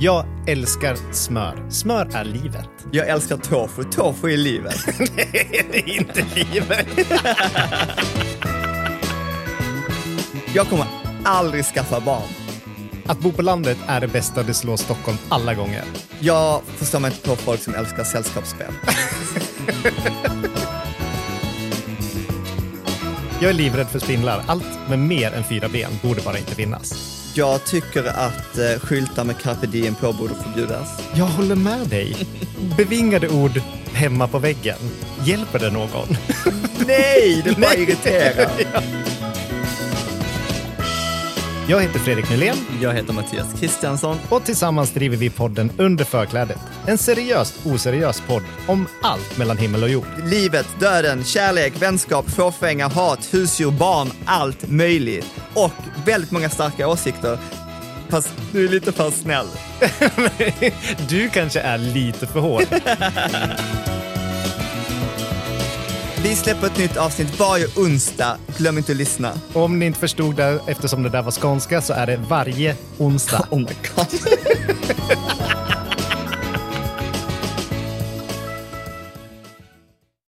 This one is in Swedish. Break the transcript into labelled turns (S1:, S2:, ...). S1: Jag älskar smör. Smör är livet.
S2: Jag älskar tofu. Tofu är livet.
S1: Det är inte livet.
S2: Jag kommer aldrig skaffa barn.
S1: Att bo på landet är det bästa, det slår Stockholm alla gånger.
S2: Jag förstår mig inte på folk som älskar sällskapsspel.
S1: Jag är livrädd för spindlar. Allt med mer än fyra ben borde bara inte finnas.
S2: Jag tycker att eh, skyltar med carpe diem på borde förbjudas.
S1: Jag håller med dig. Bevingade ord hemma på väggen. Hjälper det någon?
S2: Nej, det bara irriterar.
S1: Jag heter Fredrik Nylén
S2: Jag heter Mattias Kristiansson.
S1: och tillsammans driver vi podden Under förklädet. En seriöst oseriös podd om allt mellan himmel och jord.
S2: Livet, döden, kärlek, vänskap, fåfänga, hat, husdjur, barn, allt möjligt. Och väldigt många starka åsikter. Fast du är lite för snäll.
S1: Du kanske är lite för hård.
S2: Vi släpper ett nytt avsnitt varje onsdag. Glöm inte att lyssna.
S1: Och Om ni inte förstod
S2: Oh
S1: det, eftersom det där var skånska, så är det varje onsdag.
S2: my god.